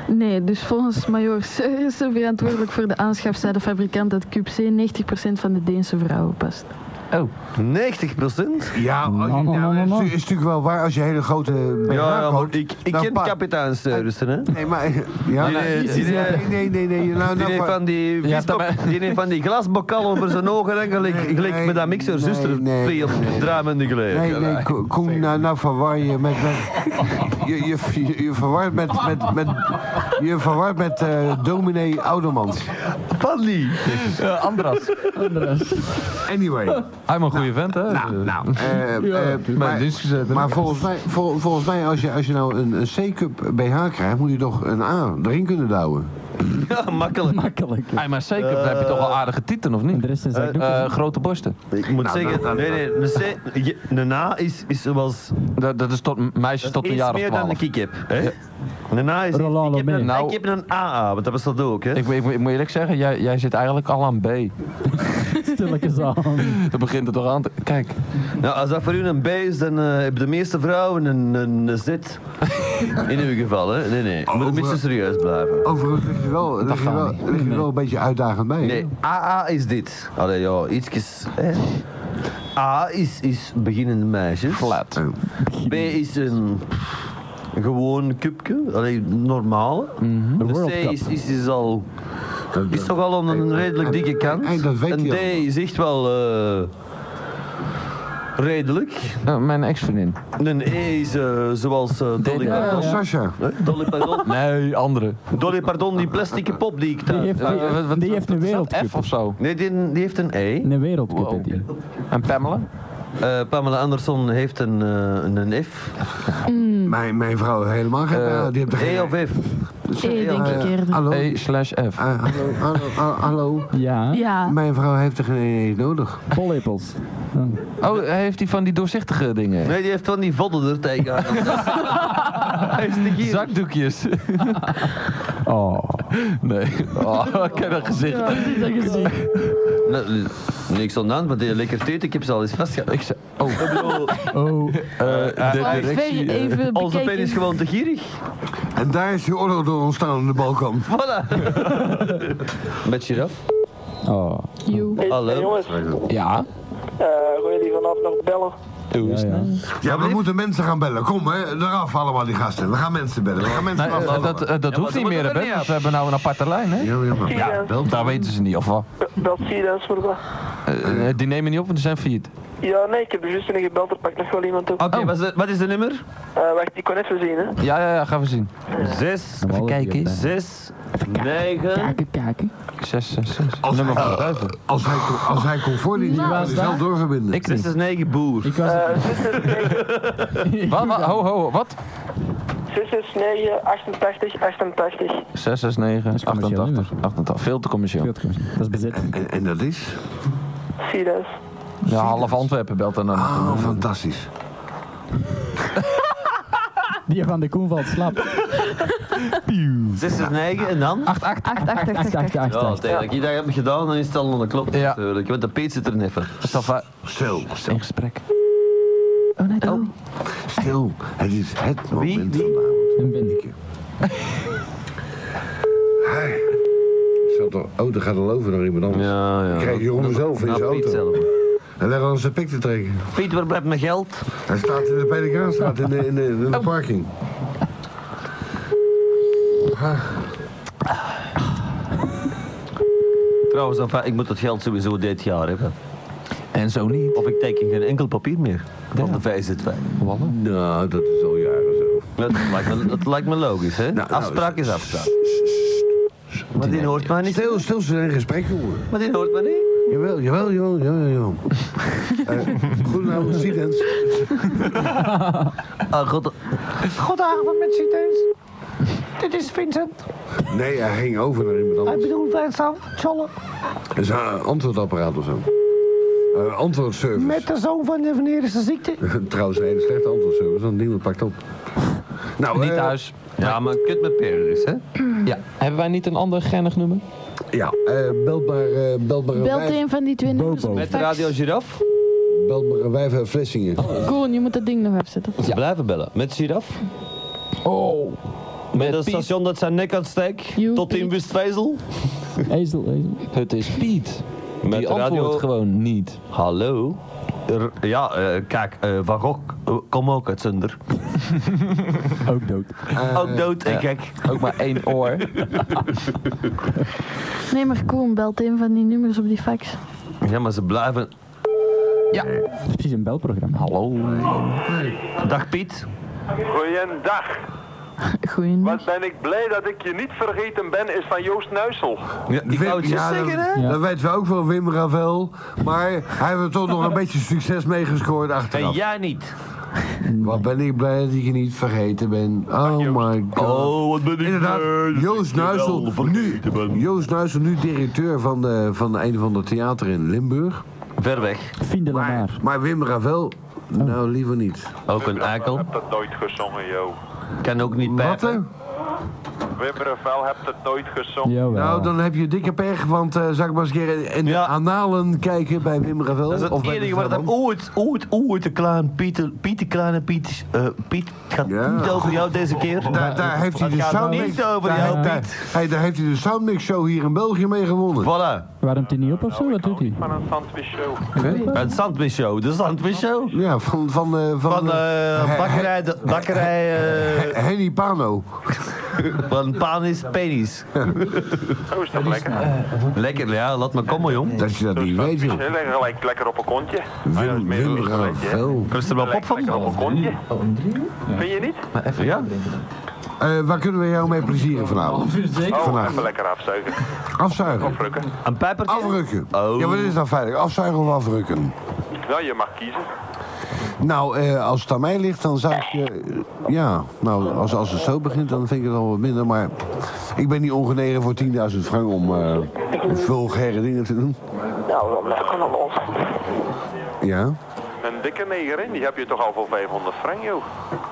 Speaker 4: Nee, dus volgens major Sorensen, verantwoordelijk voor de aanschaf, zei de fabrikant dat QC 90% van de Deense vrouwen past.
Speaker 1: 90
Speaker 2: Ja, als je-
Speaker 5: man, man,
Speaker 2: nou,
Speaker 5: man,
Speaker 2: is,
Speaker 5: man.
Speaker 2: is natuurlijk wel waar als je hele grote BH
Speaker 1: Ja, ja, maar
Speaker 2: koopt,
Speaker 1: ik, ik
Speaker 2: dan
Speaker 1: ken
Speaker 2: Nou, pa- Nou,
Speaker 1: kapitein Seurissen, hè.
Speaker 2: Nee, maar... Ja,
Speaker 1: Die-
Speaker 2: nee,
Speaker 1: die- die-
Speaker 2: nee, nee, nee, nee. Nou,
Speaker 1: Die
Speaker 2: nou,
Speaker 1: heeft
Speaker 2: maar-
Speaker 1: van die,
Speaker 3: Ja,
Speaker 1: visbok-
Speaker 3: dat
Speaker 1: [LAUGHS] die heeft van die glasbokal over zijn ogen en gelijk,
Speaker 2: Nee,
Speaker 1: gelijk
Speaker 2: nee,
Speaker 1: met dat mixer
Speaker 2: nee,
Speaker 1: zuster
Speaker 2: nee,
Speaker 1: twee op
Speaker 2: nee.
Speaker 1: druimende geleden.
Speaker 2: Nee, nee, Ko- Koen, nou, nou verwar je met... met je, je, je, je verwart met... met, met je verwart met eh dominee Oudemans.
Speaker 1: Paddy. [LAUGHS]
Speaker 3: Eh, Andras.
Speaker 2: Anyway.
Speaker 3: Hij is een goede vent, hè?
Speaker 2: Nou, nou. eh, eh,
Speaker 3: Mijn
Speaker 2: maar
Speaker 3: dienst gezet. hè?
Speaker 2: maar volgens, mij, vol- volgens mij, als je, als je nou een, een C-cup BH krijgt, moet je toch een A erin kunnen douwen.
Speaker 1: Ja, makkelijk.
Speaker 5: Makkelijk.
Speaker 3: Hey, maar zeker dan heb je toch wel aardige tieten, of
Speaker 5: En
Speaker 3: niet?
Speaker 5: de rest is
Speaker 3: Eh,
Speaker 5: dat doek.
Speaker 3: eh, grote borsten.
Speaker 1: Ik moet
Speaker 2: Nou,
Speaker 1: zeggen,
Speaker 2: nou, nou,
Speaker 1: nee, nee, de, C, je- de na is, is zoals
Speaker 3: Dat, dat is tot meisjes tot een
Speaker 1: iets
Speaker 3: jaar of
Speaker 1: meer dan
Speaker 3: twaalf.
Speaker 1: de ik heb. Hè? De na is,
Speaker 5: Rolando
Speaker 1: ik heb, een,
Speaker 3: mee.
Speaker 1: ik heb een AA, want dat was dat ook. Hè?
Speaker 3: Ik, moet- ik, moet- ik moet eerlijk zeggen, jij, jij zit eigenlijk al aan B. [LAUGHS]
Speaker 5: Stilletjes aan.
Speaker 3: Dan begint het toch aan te... Kijk,
Speaker 1: Nou, als dat voor u een B is, dan eh, hebben de meeste vrouwen een, een,
Speaker 3: [LAUGHS]
Speaker 1: een Z. In uw geval, hè? Nee, nee. Je moet een beetje serieus blijven.
Speaker 2: Overigens lig je wel, lig je wel, lig je wel een beetje uitdagend mee.
Speaker 1: Nee, AA is dit. Allee, ja, ietsjes. Hè? A is, is beginnende meisjes.
Speaker 3: flat.
Speaker 1: B is een gewoon cupje, allee, normaal. De
Speaker 5: World
Speaker 1: C
Speaker 5: Cup.
Speaker 1: is, is, is al. Is toch al aan een redelijk dikke kant.
Speaker 2: Hey, dat weet
Speaker 1: en D
Speaker 2: je al.
Speaker 1: is echt wel. eh, redelijk.
Speaker 3: Eh, mijn ex-vriendin.
Speaker 1: Een E is eh, zoals. eh, Dolly
Speaker 3: Ja,
Speaker 2: Ja,
Speaker 1: Parton.
Speaker 2: Sascha.
Speaker 1: Hè? Dolly Pardon.
Speaker 3: Nee, andere.
Speaker 1: Dolly Pardon, die plastic pop die ik
Speaker 5: Die
Speaker 1: daar.
Speaker 5: heeft, die,
Speaker 3: Eh, wat- wat-
Speaker 5: die heeft een
Speaker 3: wat is dat?
Speaker 5: wereldcup.
Speaker 3: F of zo.
Speaker 1: Nee, die, die heeft een E.
Speaker 5: Een wereldcup
Speaker 3: Wow.
Speaker 5: heeft die.
Speaker 3: En Pamela?
Speaker 1: Eh, Pamela Anderson heeft een, eh, een F.
Speaker 2: Mijn, mijn vrouw heeft helemaal geen...
Speaker 3: Eh,
Speaker 2: BH, die heeft er geen...
Speaker 1: E of F?
Speaker 4: E,
Speaker 2: eh,
Speaker 4: denk ik eerder.
Speaker 2: Hallo?
Speaker 3: E slash F.
Speaker 2: Ah, hallo, hallo, ah, hallo.
Speaker 5: Ja,
Speaker 4: Ja,
Speaker 2: Mijn vrouw heeft er geen eens nodig.
Speaker 5: pollepels.
Speaker 3: Oh, heeft hij van die doorzichtige dingen?
Speaker 1: Nee, die heeft van die vodden er tegenaan. Hij is te gier.
Speaker 3: [LAUGHS] Zakdoekjes.
Speaker 5: Oh.
Speaker 3: Nee. Oh, [LAUGHS] ik ken dat gezicht.
Speaker 1: Nee, niks aan de hand, maar die lekker teut, ik heb ze al eens vastgehouden.
Speaker 3: Ik zei... Oh,
Speaker 1: Ik bedoel,
Speaker 5: Oh,
Speaker 3: eh, de
Speaker 1: Ah,
Speaker 4: Twee
Speaker 3: directie... eh,
Speaker 4: even
Speaker 1: Onze pen
Speaker 4: bekeken.
Speaker 1: is gewoon te gierig.
Speaker 2: En daar is die oorlog door ontstaan aan de Balkan.
Speaker 1: Voilà. [LAUGHS] Met giraf.
Speaker 5: oh.
Speaker 4: Joe.
Speaker 8: Hey,
Speaker 1: Hallo.
Speaker 8: hey, jongens,
Speaker 3: Ja?
Speaker 8: eh wil jullie vanavond nog bellen?
Speaker 3: Doe eens.
Speaker 5: ja.
Speaker 2: Ja, we moeten mensen gaan bellen. Kom, hè. Eraf allemaal die gasten. We gaan mensen bellen. We gaan mensen
Speaker 3: Nee, eh,
Speaker 2: afbellen.
Speaker 3: dat eh, dat hoeft
Speaker 1: ze
Speaker 3: niet
Speaker 1: moeten
Speaker 3: meer, hè,
Speaker 1: er
Speaker 3: Ben.
Speaker 1: niet
Speaker 3: want
Speaker 1: af.
Speaker 3: Ze hebben nou een aparte lijn, hè?
Speaker 2: Ja, ja, maar-
Speaker 8: Ja.
Speaker 2: Bel
Speaker 3: Daar weten ze niet, of wat?
Speaker 8: Belt Sirens voor dat?
Speaker 3: Eh, eh, die nemen niet op, want ze zijn failliet.
Speaker 8: Ja, nee, ik heb er juist in gebeld, er pakt nog wel iemand op.
Speaker 1: Oké, wat, is de- wat is de nummer?
Speaker 8: Eh, wacht, ik kon even zien, hè.
Speaker 3: Ja, ja, ja, gaan we zien.
Speaker 1: 6,
Speaker 5: Even
Speaker 3: kijken.
Speaker 1: 6, 9.
Speaker 5: Kijken, kijken.
Speaker 3: 6, 6, 6.
Speaker 2: Als
Speaker 3: Nummer
Speaker 2: hij-
Speaker 3: van buiten.
Speaker 2: Als hij, kon- als hij kon voordienen, die
Speaker 5: was
Speaker 2: kan hij zelf
Speaker 5: daar?
Speaker 2: doorverbinden.
Speaker 3: Ik
Speaker 1: Zes
Speaker 3: niet.
Speaker 1: is 9 boer.
Speaker 5: Ik was
Speaker 8: Eh, [LAUGHS] 669
Speaker 3: Wat, wat, ho, ho, wat?
Speaker 8: 669 88 88.
Speaker 3: 6, 6, 9,
Speaker 5: is commercieel
Speaker 3: 88, 88. Veel te commercieel.
Speaker 5: Goed, kom eens. Dat is bezet.
Speaker 2: En, en dat is?
Speaker 8: Sirens.
Speaker 3: Ja, half Antwerpen belt dan. aan.
Speaker 2: Ah, fantastisch.
Speaker 5: Die van de Koen valt slap.
Speaker 1: 6 is 9 en dan?
Speaker 5: 8, 8, 8, 8, 8, 8,
Speaker 1: Ja, als je dat hebt gedaan, dan is het al aan de klok
Speaker 3: Ja.
Speaker 1: natuurlijk. Want de peet zit er net van.
Speaker 3: Stel va-
Speaker 2: Stil,
Speaker 3: in
Speaker 2: stil,
Speaker 3: gesprek.
Speaker 4: Oh.
Speaker 2: stil. Het is het moment [LAUGHS]
Speaker 1: Wie?
Speaker 2: vanavond.
Speaker 5: En ben ik.
Speaker 2: Hey. zat er- Oh, dan gaat er over naar iemand anders.
Speaker 1: Ja, ja.
Speaker 2: Krijg Jeroen zelf in
Speaker 1: Nou,
Speaker 2: zijn
Speaker 1: Piet
Speaker 2: auto.
Speaker 1: zelf.
Speaker 2: En leg aan zijn pik te trekken.
Speaker 1: Piet, waar blijft mijn geld?
Speaker 2: Hij staat in de Pelikaanstraat in de, in de, in de parking.
Speaker 1: Trouwens, enfin, ik moet dat geld sowieso dit jaar hebben.
Speaker 3: En zo niet.
Speaker 1: Of ik teken geen enkel papier meer. Van de VZW.
Speaker 3: Wallen.
Speaker 2: Nou, dat is al jaren zo.
Speaker 1: Dat lijkt me, dat lijkt me logisch, hè?
Speaker 2: Nou, nou,
Speaker 1: afspraak is afspraak. Maar die hoort mij niet.
Speaker 2: Stil, stil, ze zijn in gesprek, jongen.
Speaker 1: Maar die hoort mij niet.
Speaker 2: Jawel, jawel, jawel, jawel, jawel. Eh, Goedenavond, Sidens.
Speaker 1: Ah, god. Goedenavond met Citeus. Dit is Vincent.
Speaker 2: Nee, hij ging over naar iemand anders.
Speaker 1: bedoelt Vincent Scholle.
Speaker 2: Dat is een antwoordapparaat of zo. Eh, antwoordservice.
Speaker 1: de zoon van de venerische ziekte.
Speaker 2: [LAUGHS] Trouwens, een hele slechte antwoordservice, want niemand pakt op. Nou,
Speaker 3: Niet
Speaker 2: eh,
Speaker 3: thuis.
Speaker 1: Ja, maar kut met peren dus, hè?
Speaker 3: Ja. Hebben wij niet een ander gennig nummer?
Speaker 2: Ja, eh, belt maar, eh, belt maar een
Speaker 4: Belt
Speaker 2: wijf,
Speaker 4: een van die twee nummers op de
Speaker 5: Bobo.
Speaker 1: Met Radio
Speaker 4: fax.
Speaker 1: Giraf.
Speaker 2: belt maar een wijf uit Vlissingen.
Speaker 4: Koen, je moet dat ding nog afzetten.
Speaker 1: Ze blijven bellen. Met Giraf.
Speaker 3: Oh.
Speaker 1: Met een
Speaker 3: Piet.
Speaker 1: station dat zijn nek uitsteekt.
Speaker 4: Joe,
Speaker 1: Tot in
Speaker 4: Piet.
Speaker 1: Westvezel.
Speaker 5: Ezel, ezel.
Speaker 3: Het is Piet.
Speaker 1: Met
Speaker 3: die
Speaker 1: de radio-
Speaker 3: antwoordt gewoon niet.
Speaker 1: Hallo. Er- ja, eh, kijk, eh, Van Gogh eh, kom ook uit Zunder.
Speaker 5: Ook dood.
Speaker 1: ook dood en gek.
Speaker 3: Ook maar één oor.
Speaker 4: Nee, maar Koen, belt een van die nummers op die fax.
Speaker 1: Ja, maar ze blijven...
Speaker 5: Dat is precies een belprogramma.
Speaker 3: Hallo.
Speaker 1: Dag Piet.
Speaker 6: [LAUGHS] Goeiedag.
Speaker 4: Goeien.
Speaker 6: Wat ben ik blij dat ik je niet vergeten ben, is van Joost Nuisel.
Speaker 1: Ja, ik
Speaker 2: Wim-
Speaker 1: wou het je
Speaker 2: ja,
Speaker 1: zeggen, hè?
Speaker 2: dat,
Speaker 5: Ja.
Speaker 2: dat weten we ook wel, Wim Ravel. Maar hij heeft er toch nog een beetje succes mee gescoord
Speaker 1: En
Speaker 2: achteraf.
Speaker 1: jij niet.
Speaker 2: Wat ben ik blij dat ik je niet vergeten ben. Oh my god.
Speaker 1: wat ben
Speaker 2: Inderdaad, Joost Nuisel, nu, Joost Nuisel, nu directeur van, de, van een van de theater in Limburg.
Speaker 1: Ver weg.
Speaker 5: Finde la maar.
Speaker 2: Maar Wim Ravel,
Speaker 1: Oh.
Speaker 2: nou liever niet.
Speaker 1: Ook een eikel.
Speaker 6: heb dat nooit gezongen, joh.
Speaker 1: Kan ook niet
Speaker 2: Wat hè?
Speaker 1: pijpen.
Speaker 6: Wim Ravel hebt het nooit gezongen.
Speaker 5: Jawel.
Speaker 2: Nou, dan heb je dikke pech, want eh zou ik maar eens een keer in- in de
Speaker 1: Ja.
Speaker 2: analen kijken bij Wim Ravel.
Speaker 1: Dat is
Speaker 2: of
Speaker 1: het
Speaker 2: bij
Speaker 1: enige
Speaker 2: de
Speaker 1: wat dat
Speaker 2: Ravel.
Speaker 1: ooit, ooit, ooit de klein Piet, Piet de kleine Piet, eh, Piet, het gaat
Speaker 2: Ja.
Speaker 1: niet over jou deze keer.
Speaker 2: Daar, daar heeft hij
Speaker 1: Het
Speaker 2: de
Speaker 1: gaat
Speaker 2: Soundmix...
Speaker 1: niet over
Speaker 2: daar,
Speaker 1: jou,
Speaker 2: daar-
Speaker 1: Piet.
Speaker 2: hey, daar heeft hij de Soundmix Show hier in België mee gewonnen.
Speaker 1: Voilà,
Speaker 5: Warmt hij niet op of zo? Wat doet hij?
Speaker 6: Van een sandwich show.
Speaker 1: het Sandwich Show, de Sandwich Show.
Speaker 2: Ja, van... Van, eh, van,
Speaker 1: Van
Speaker 2: eh,
Speaker 1: eh
Speaker 2: He-
Speaker 1: bakkerij, de, bakkerij
Speaker 2: He-
Speaker 1: eh,
Speaker 2: He- Henny Pano.
Speaker 1: van Panis Penis.
Speaker 6: Zo is dat lekker.
Speaker 1: Lekker, ja, laat maar komen, jong.
Speaker 2: Dat je dat niet weet, joh.
Speaker 6: Heel gelijk lekker op een kontje.
Speaker 2: Wim, Wim Ravel.
Speaker 1: Kun je er wel pop van?
Speaker 6: Lekker op een kontje. Vind je niet?
Speaker 1: Ja?
Speaker 2: Eh, waar kunnen we jou mee plezieren vanavond?
Speaker 6: Oh,
Speaker 2: Vandaag.
Speaker 6: even lekker afzuigen.
Speaker 2: Afzuigen.
Speaker 6: Drukken.
Speaker 1: Een pijpertje?
Speaker 2: Afrukken.
Speaker 1: Oh.
Speaker 2: Ja, wat is dan veilig? Afzuigen of afrukken?
Speaker 6: Nou, je mag kiezen.
Speaker 2: Nou, eh, als het aan mij ligt, dan zou ik je... Ja, nou, als, als het zo begint, dan vind ik het al wat minder. Maar ik ben niet ongenegen voor 10.000 frank om eh, vulgaire dingen te doen.
Speaker 8: Nou, dan merken we ons.
Speaker 2: Ja.
Speaker 6: Een dikke negerin, die heb je toch al voor 500 frank, joh.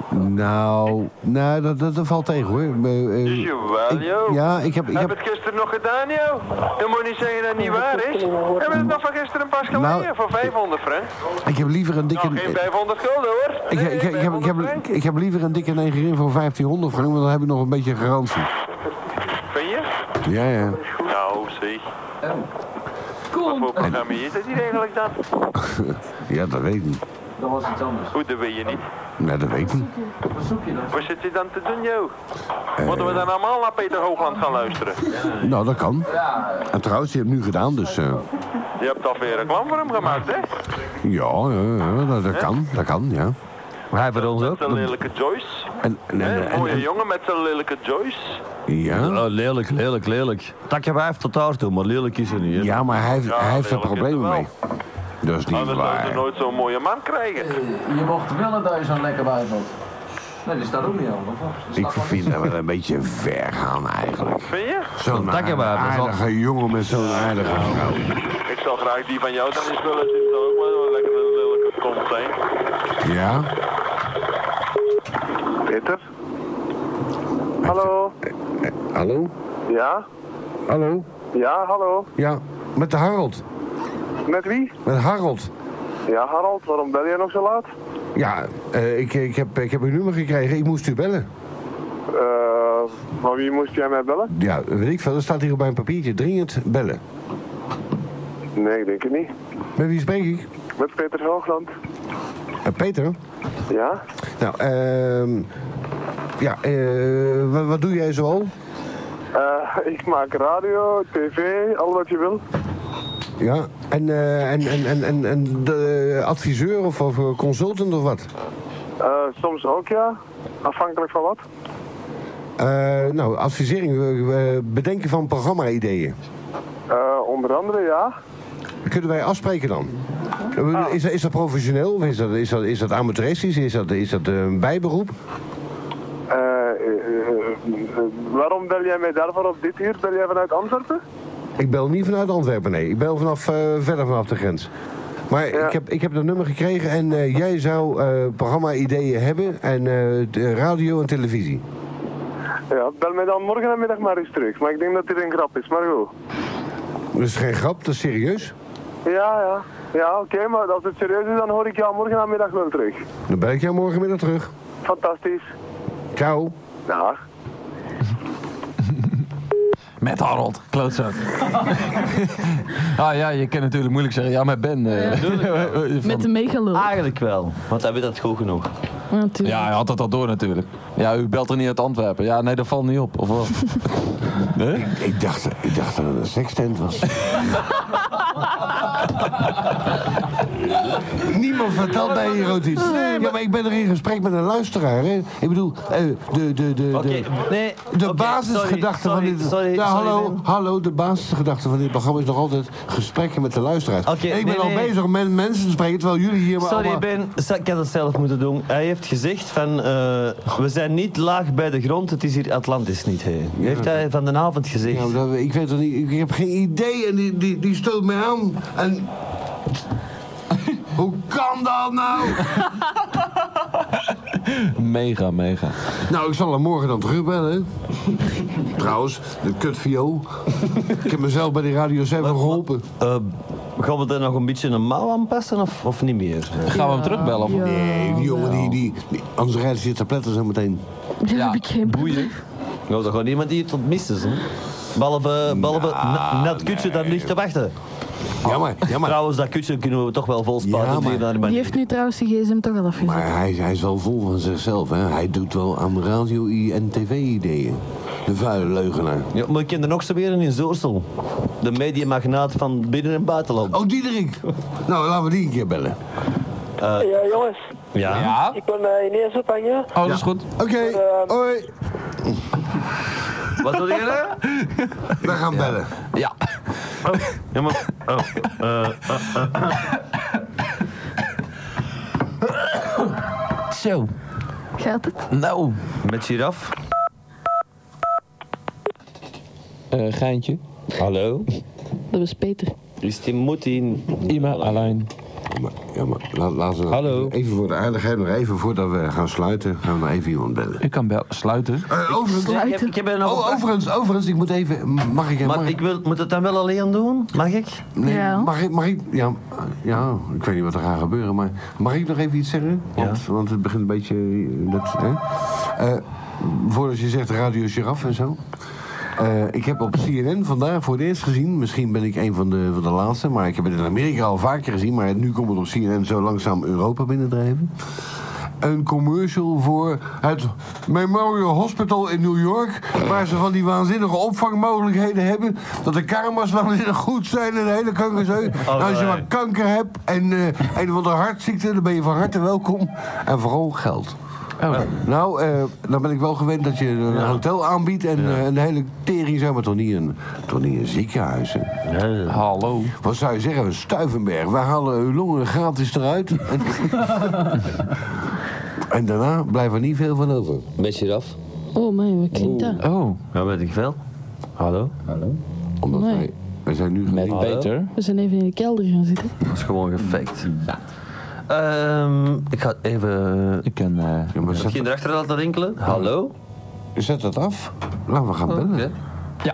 Speaker 2: Nou, nou dat, dat, dat valt tegen, hoor. Eh, eh,
Speaker 6: Dus Jawel, joh.
Speaker 2: ja, ik heb... Ik
Speaker 6: Heb
Speaker 2: heb
Speaker 6: het gisteren nog gedaan, joh? Dan moet je niet zeggen dat het niet waar is. Hebben we het nog van gisteren pas geleden
Speaker 2: Nou,
Speaker 6: voor 500 frank?
Speaker 2: ik heb liever een dikke...
Speaker 6: Nou, geen 500 gulden, hoor.
Speaker 2: Ik,
Speaker 6: Nee,
Speaker 2: ik, ik, heb, ik,
Speaker 6: 500
Speaker 2: heb,
Speaker 6: frank.
Speaker 2: ik heb liever een dikke negerin voor 1500 frank, want dan heb ik nog een beetje garantie.
Speaker 6: Vind je?
Speaker 2: Ja, ja.
Speaker 6: Nou, zie. Wat voor programma is dat hier eigenlijk dan?
Speaker 2: Ja, dat weet ik niet.
Speaker 6: Goed, dat weet je niet.
Speaker 2: Nee, dat weet ik niet.
Speaker 6: Wat zit je dan te doen, joh? Moeten
Speaker 2: Eh.
Speaker 6: we dan allemaal naar Peter Hoogland gaan luisteren?
Speaker 2: Nou, dat kan. En trouwens, die heb ik nu gedaan, dus... eh,
Speaker 6: Je hebt alweer een klant voor hem gemaakt, hè?
Speaker 2: ja, ja, ja, dat, dat kan. Dat kan, ja.
Speaker 1: Hij voor ons ook.
Speaker 6: Met zijn lelijke Joyce.
Speaker 2: En, en,
Speaker 6: Hè,
Speaker 2: en,
Speaker 6: een
Speaker 2: en-
Speaker 6: mooie jongen met zijn lelijke Joyce.
Speaker 2: ja.
Speaker 1: Oh, lelijk, lelijk, lelijk. Takje wijf tot daar toe, maar lelijk is er niet. hè.
Speaker 2: ja, maar hij, heeft-
Speaker 6: Ja,
Speaker 2: hij heeft er
Speaker 6: lelijk is
Speaker 2: problemen
Speaker 6: het
Speaker 2: mee. Dat is niet
Speaker 6: Anders zou ze
Speaker 2: waar.
Speaker 6: nooit zo'n mooie man krijgen.
Speaker 9: Je mocht willen dat je zo'n lekker wijf had. Nee, die staat ook niet aan. of?
Speaker 2: Ik vind dat we een beetje ver gaan, eigenlijk.
Speaker 6: Vind je?
Speaker 2: Zo'n
Speaker 1: Dank je wel, dat is al-
Speaker 2: aardige jongen met zo'n aardige vrouw.
Speaker 6: Ik zou graag die van jou dan eens willen zien, zou ook maar wel lekker een lelijke kont zijn.
Speaker 2: Ja?
Speaker 6: Peter? Hallo?
Speaker 2: Hallo?
Speaker 6: Ja?
Speaker 2: Hallo?
Speaker 6: Ja, hallo?
Speaker 2: Ja, met de Harold.
Speaker 6: Met wie?
Speaker 2: Met Harold.
Speaker 6: Ja, Harald, waarom bel jij nog zo laat?
Speaker 2: Ja, eh, ik, ik, heb, ik heb uw nummer gekregen. Ik moest u bellen.
Speaker 6: Eh,
Speaker 10: Maar wie moest jij mij bellen?
Speaker 2: Ja, weet ik veel. Er staat hier op mijn papiertje. Dringend bellen.
Speaker 10: Nee, ik denk het niet.
Speaker 2: Met wie spreek ik?
Speaker 10: Met Peter Hoogland.
Speaker 2: Eh, Peter?
Speaker 10: Ja?
Speaker 2: Nou, ehm... Ja, eh, wat, wat doe jij zoal?
Speaker 10: Eh, [LAUGHS] ik maak radio, tv, al wat je wil.
Speaker 2: Ja, en, eh, en, en, en, en, en de adviseur of, of consultant of wat?
Speaker 10: Eh, soms ook ja, afhankelijk van wat.
Speaker 2: Eh, nou, advisering, eh, eh, bedenken van programma-ideeën.
Speaker 10: Eh, onder andere ja.
Speaker 2: Kunnen wij afspreken dan? Is, dat- is dat professioneel of is dat, is dat, is dat amateuristisch? Is dat, is dat een bijberoep?
Speaker 10: Eh, eh, eh, eh, waarom bel jij mij daarvoor op dit uur? Bel jij vanuit Antwerpen?
Speaker 2: Ik bel niet vanuit Antwerpen, nee. Ik bel vanaf, eh, verder vanaf de grens. Maar ik, heb, ik heb dat nummer gekregen en eh, jij zou eh, programma-ideeën hebben en eh, de radio en televisie.
Speaker 10: Ja, bel mij dan morgen namiddag maar eens terug. Maar ik denk dat dit een grap is, maar goed.
Speaker 2: Dat is geen grap, dat is serieus.
Speaker 10: Ja, ja. Ja, oké, maar als het serieus is, dan hoor ik jou morgen namiddag wel terug.
Speaker 2: Dan bel ik jou morgenmiddag terug.
Speaker 10: Fantastisch.
Speaker 2: Ciao.
Speaker 10: Dag.
Speaker 3: Met Harold, klootzak. [LAUGHS] ah ja, je kan natuurlijk moeilijk zeggen, ja, met Ben. eh, [LAUGHS]
Speaker 4: Met de megalo. eh,
Speaker 1: Eigenlijk wel, want hij weet dat goed genoeg.
Speaker 4: Natuurlijk.
Speaker 3: ja, hij had dat al door natuurlijk. Ja, u belt er niet uit Antwerpen. Ja, nee, dat valt niet op, of
Speaker 1: [LAUGHS]
Speaker 3: wel? nee?
Speaker 2: Ik dacht, ik dacht dat het een sekstent was. [LAUGHS] Niemand vertelt mij hier ooit iets. ja, maar ik ben er in gesprek met een luisteraar. Hè. Ik bedoel, eh, de, de, de, de,
Speaker 1: nee,
Speaker 2: de
Speaker 1: oké,
Speaker 2: basisgedachte
Speaker 1: sorry,
Speaker 2: van dit...
Speaker 1: sorry,
Speaker 2: Ja,
Speaker 1: sorry,
Speaker 2: hallo,
Speaker 1: Ben.
Speaker 2: hallo, de basisgedachte van dit programma is nog altijd gesprekken met de luisteraars.
Speaker 1: Oké,
Speaker 2: ik ben
Speaker 1: nee,
Speaker 2: al
Speaker 1: nee.
Speaker 2: bezig met mensen te spreken, terwijl jullie hier maar
Speaker 1: Sorry
Speaker 2: allemaal...
Speaker 1: Ben, Sa- ik had het zelf moeten doen. Hij heeft gezegd van, eh, we zijn niet laag bij de grond, het is hier Atlantis niet heen. Heeft hij van de avond gezegd.
Speaker 2: Ja, maar dat- ik weet het niet, ik heb geen idee en die, die, die stoot mij aan en... [LAUGHS] Hoe kan dat nou?
Speaker 3: [LAUGHS] Mega, mega.
Speaker 2: Nou, ik zal hem morgen dan
Speaker 3: [LAUGHS]
Speaker 2: terugbellen. Trouwens, de kutviool. ik heb mezelf bij die Radio 7 geholpen.
Speaker 1: Eh, gaan we daar nog een beetje een mouw aan passen of, of niet meer?
Speaker 3: Gaan we hem terugbellen? Of...
Speaker 2: Nee, die jongen, die, die, die, anders rijden ze je te pletten zo meteen.
Speaker 4: Daar heb ik geen
Speaker 1: boeien. Nou, dat gaat niemand hier tot mis is. hè. Behalve, behalve na- na het kutje dat ligt te wachten.
Speaker 2: Jammer, jammer.
Speaker 1: Trouwens, dat kutje kunnen we toch wel vol
Speaker 2: Ja,
Speaker 1: sparen.
Speaker 2: maar-
Speaker 4: Die heeft nu trouwens die gsm toch al afgezet.
Speaker 2: Maar hij, hij is wel vol van zichzelf, hè. Hij doet wel aan radio en tv-ideeën. De vuile leugenaar.
Speaker 1: Ja, maar ik ken er nog zo weer een in Zoorsel. De mediamagnaat van binnen- en buitenland.
Speaker 2: Oh, Diederik! Nou, laten we die een keer bellen.
Speaker 8: Ja, jongens.
Speaker 1: Ja.
Speaker 8: Ik kon eh, ineens ophangen.
Speaker 3: Oh, dat is goed.
Speaker 2: Oké, hoi.
Speaker 1: Wat wil je?
Speaker 2: We gaan bellen.
Speaker 3: Ja.
Speaker 1: Ja, maar... Oh, eh,
Speaker 3: Zo.
Speaker 4: Gaat het?
Speaker 3: Nou.
Speaker 1: met giraf.
Speaker 3: Eh, geintje.
Speaker 1: Hallo.
Speaker 4: Dat was Peter.
Speaker 1: Is Dus die Moetin?
Speaker 3: Ima alleen.
Speaker 2: Maar, ja, maar laat, laten we
Speaker 1: Hallo.
Speaker 2: even voor de aardigheid, nog even voordat we gaan sluiten, gaan we even iemand bellen.
Speaker 3: Ik kan bel sluiten.
Speaker 2: Eh, overigens,
Speaker 1: Ik heb, ik heb er nog een
Speaker 2: oh,
Speaker 1: vraag.
Speaker 2: overigens, overigens, ik moet even, mag ik, mag
Speaker 1: Maar ik wil, moet het dan wel alleen doen? Mag ik?
Speaker 2: Nee,
Speaker 4: Ja.
Speaker 2: mag ik, mag ik, ja, ja, ik weet niet wat er gaat gebeuren, maar mag ik nog even iets zeggen? Want, want het begint een beetje, eh, dat, hè? Eh, voordat je zegt Radio Giraffe en zo. Eh, ik heb op CNN vandaag voor het eerst gezien, misschien ben ik een van de, van de laatste, maar ik heb het in Amerika al vaker gezien, maar nu komt het op CNN zo langzaam Europa binnendrijven. Een commercial voor het Memorial Hospital in New York. Waar ze van die waanzinnige opvangmogelijkheden hebben. Dat de kamers waanzinnig goed zijn en de hele kankerzeu. En als je maar kanker hebt en eh een of andere hartziekte, dan ben je van harte welkom. En vooral geld. Nou, eh, dan ben ik wel gewend dat je een hotel aanbiedt en eh, een hele tering zou, maar toch niet een, toch niet een ziekenhuis. hè?
Speaker 3: Hallo.
Speaker 2: Wat zou je zeggen, Stuivenberg, wij halen uw longen gratis eruit. En, en daarna blijft er niet veel van over.
Speaker 1: Met giraf.
Speaker 4: Oh man, wat klinkt dat?
Speaker 3: Oh.
Speaker 1: Ja, weet ik veel. Hallo.
Speaker 2: Omdat
Speaker 4: Nee.
Speaker 2: wij, wij zijn nu
Speaker 3: Met
Speaker 2: gelinkt.
Speaker 3: Peter.
Speaker 4: We zijn even in de kelder gaan zitten.
Speaker 1: Dat is gewoon gefaked. Ehm, ik ga even...
Speaker 3: Ik kan... eh,
Speaker 2: Ja, maar zet,
Speaker 1: Misschien erachter laten rinkelen. Hallo.
Speaker 2: zet dat af. Laten we gaan
Speaker 4: Oh.
Speaker 2: bellen.
Speaker 1: Oké.
Speaker 3: Ja.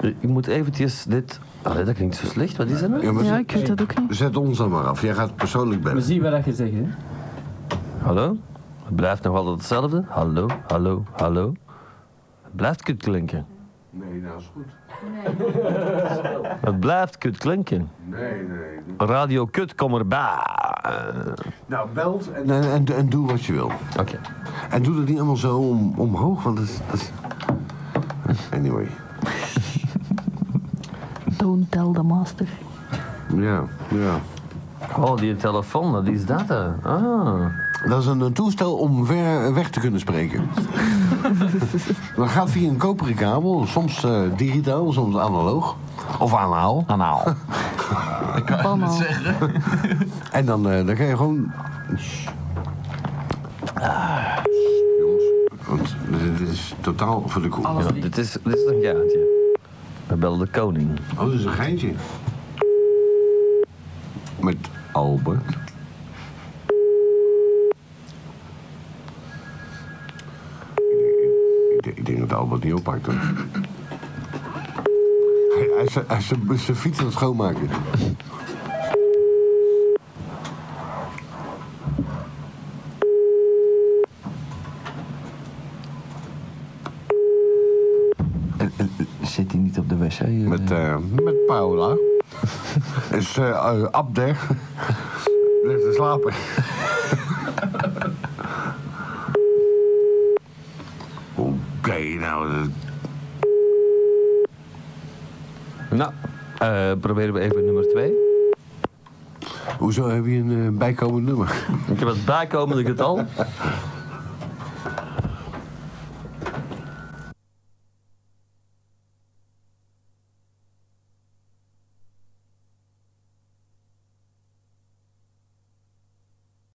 Speaker 1: Ik moet eventjes dit... Allee, dat klinkt zo slecht. Wat is dat nou?
Speaker 2: Ja, maar
Speaker 4: Ja,
Speaker 2: zet,
Speaker 4: ik weet dat ook niet.
Speaker 2: zet ons dan maar af. Jij gaat persoonlijk
Speaker 5: We
Speaker 2: bellen.
Speaker 5: zien wat je zegt, hè.
Speaker 1: Hallo? Het blijft nog altijd hetzelfde. Hallo, hallo, hallo. Het blijft kut klinken.
Speaker 2: Nee, nou is goed.
Speaker 1: Het blijft kut klinken.
Speaker 2: Nee, nee.
Speaker 1: Radio kut, kom erbij.
Speaker 2: Nou, belt en, en, en, en doe wat je wil.
Speaker 1: Oké.
Speaker 2: En doe dat niet allemaal zo om, omhoog, want dat is... Dat is... Anyway.
Speaker 4: Don't tell the master.
Speaker 2: Ja, ja.
Speaker 1: Oh, die telefoon, dat is dat. hè. Ah.
Speaker 2: Dat is een, een toestel om ver weg te kunnen spreken. dat gaat via een koperen kabel, soms eh, digitaal, soms analoog. Of anaal. [LAUGHS]
Speaker 3: Anaal.
Speaker 4: Allemaal.
Speaker 2: En dan, eh, dan kan je gewoon. Ah, Jongens, want dit is totaal voor de koel.
Speaker 1: Ja, dit, is, dit is een jaartje. We bellen de koning.
Speaker 2: Oh, dat is een geintje. Met Albert. Ik denk- Ik denk dat Albert niet oppakt. hoor. Hij, hij, is- hij is zijn- zijn fiets aan het schoonmaken.
Speaker 3: Zit hij niet op de wc? eh?
Speaker 2: Met, eh, met Paula. is eh eh, Abder. Ligt te slapen. Oké, nou. dat-
Speaker 1: Nou, eh, proberen we even nummer 2.
Speaker 2: Hoezo heb je een eh, bijkomend nummer?
Speaker 1: Ik heb het bijkomende getal.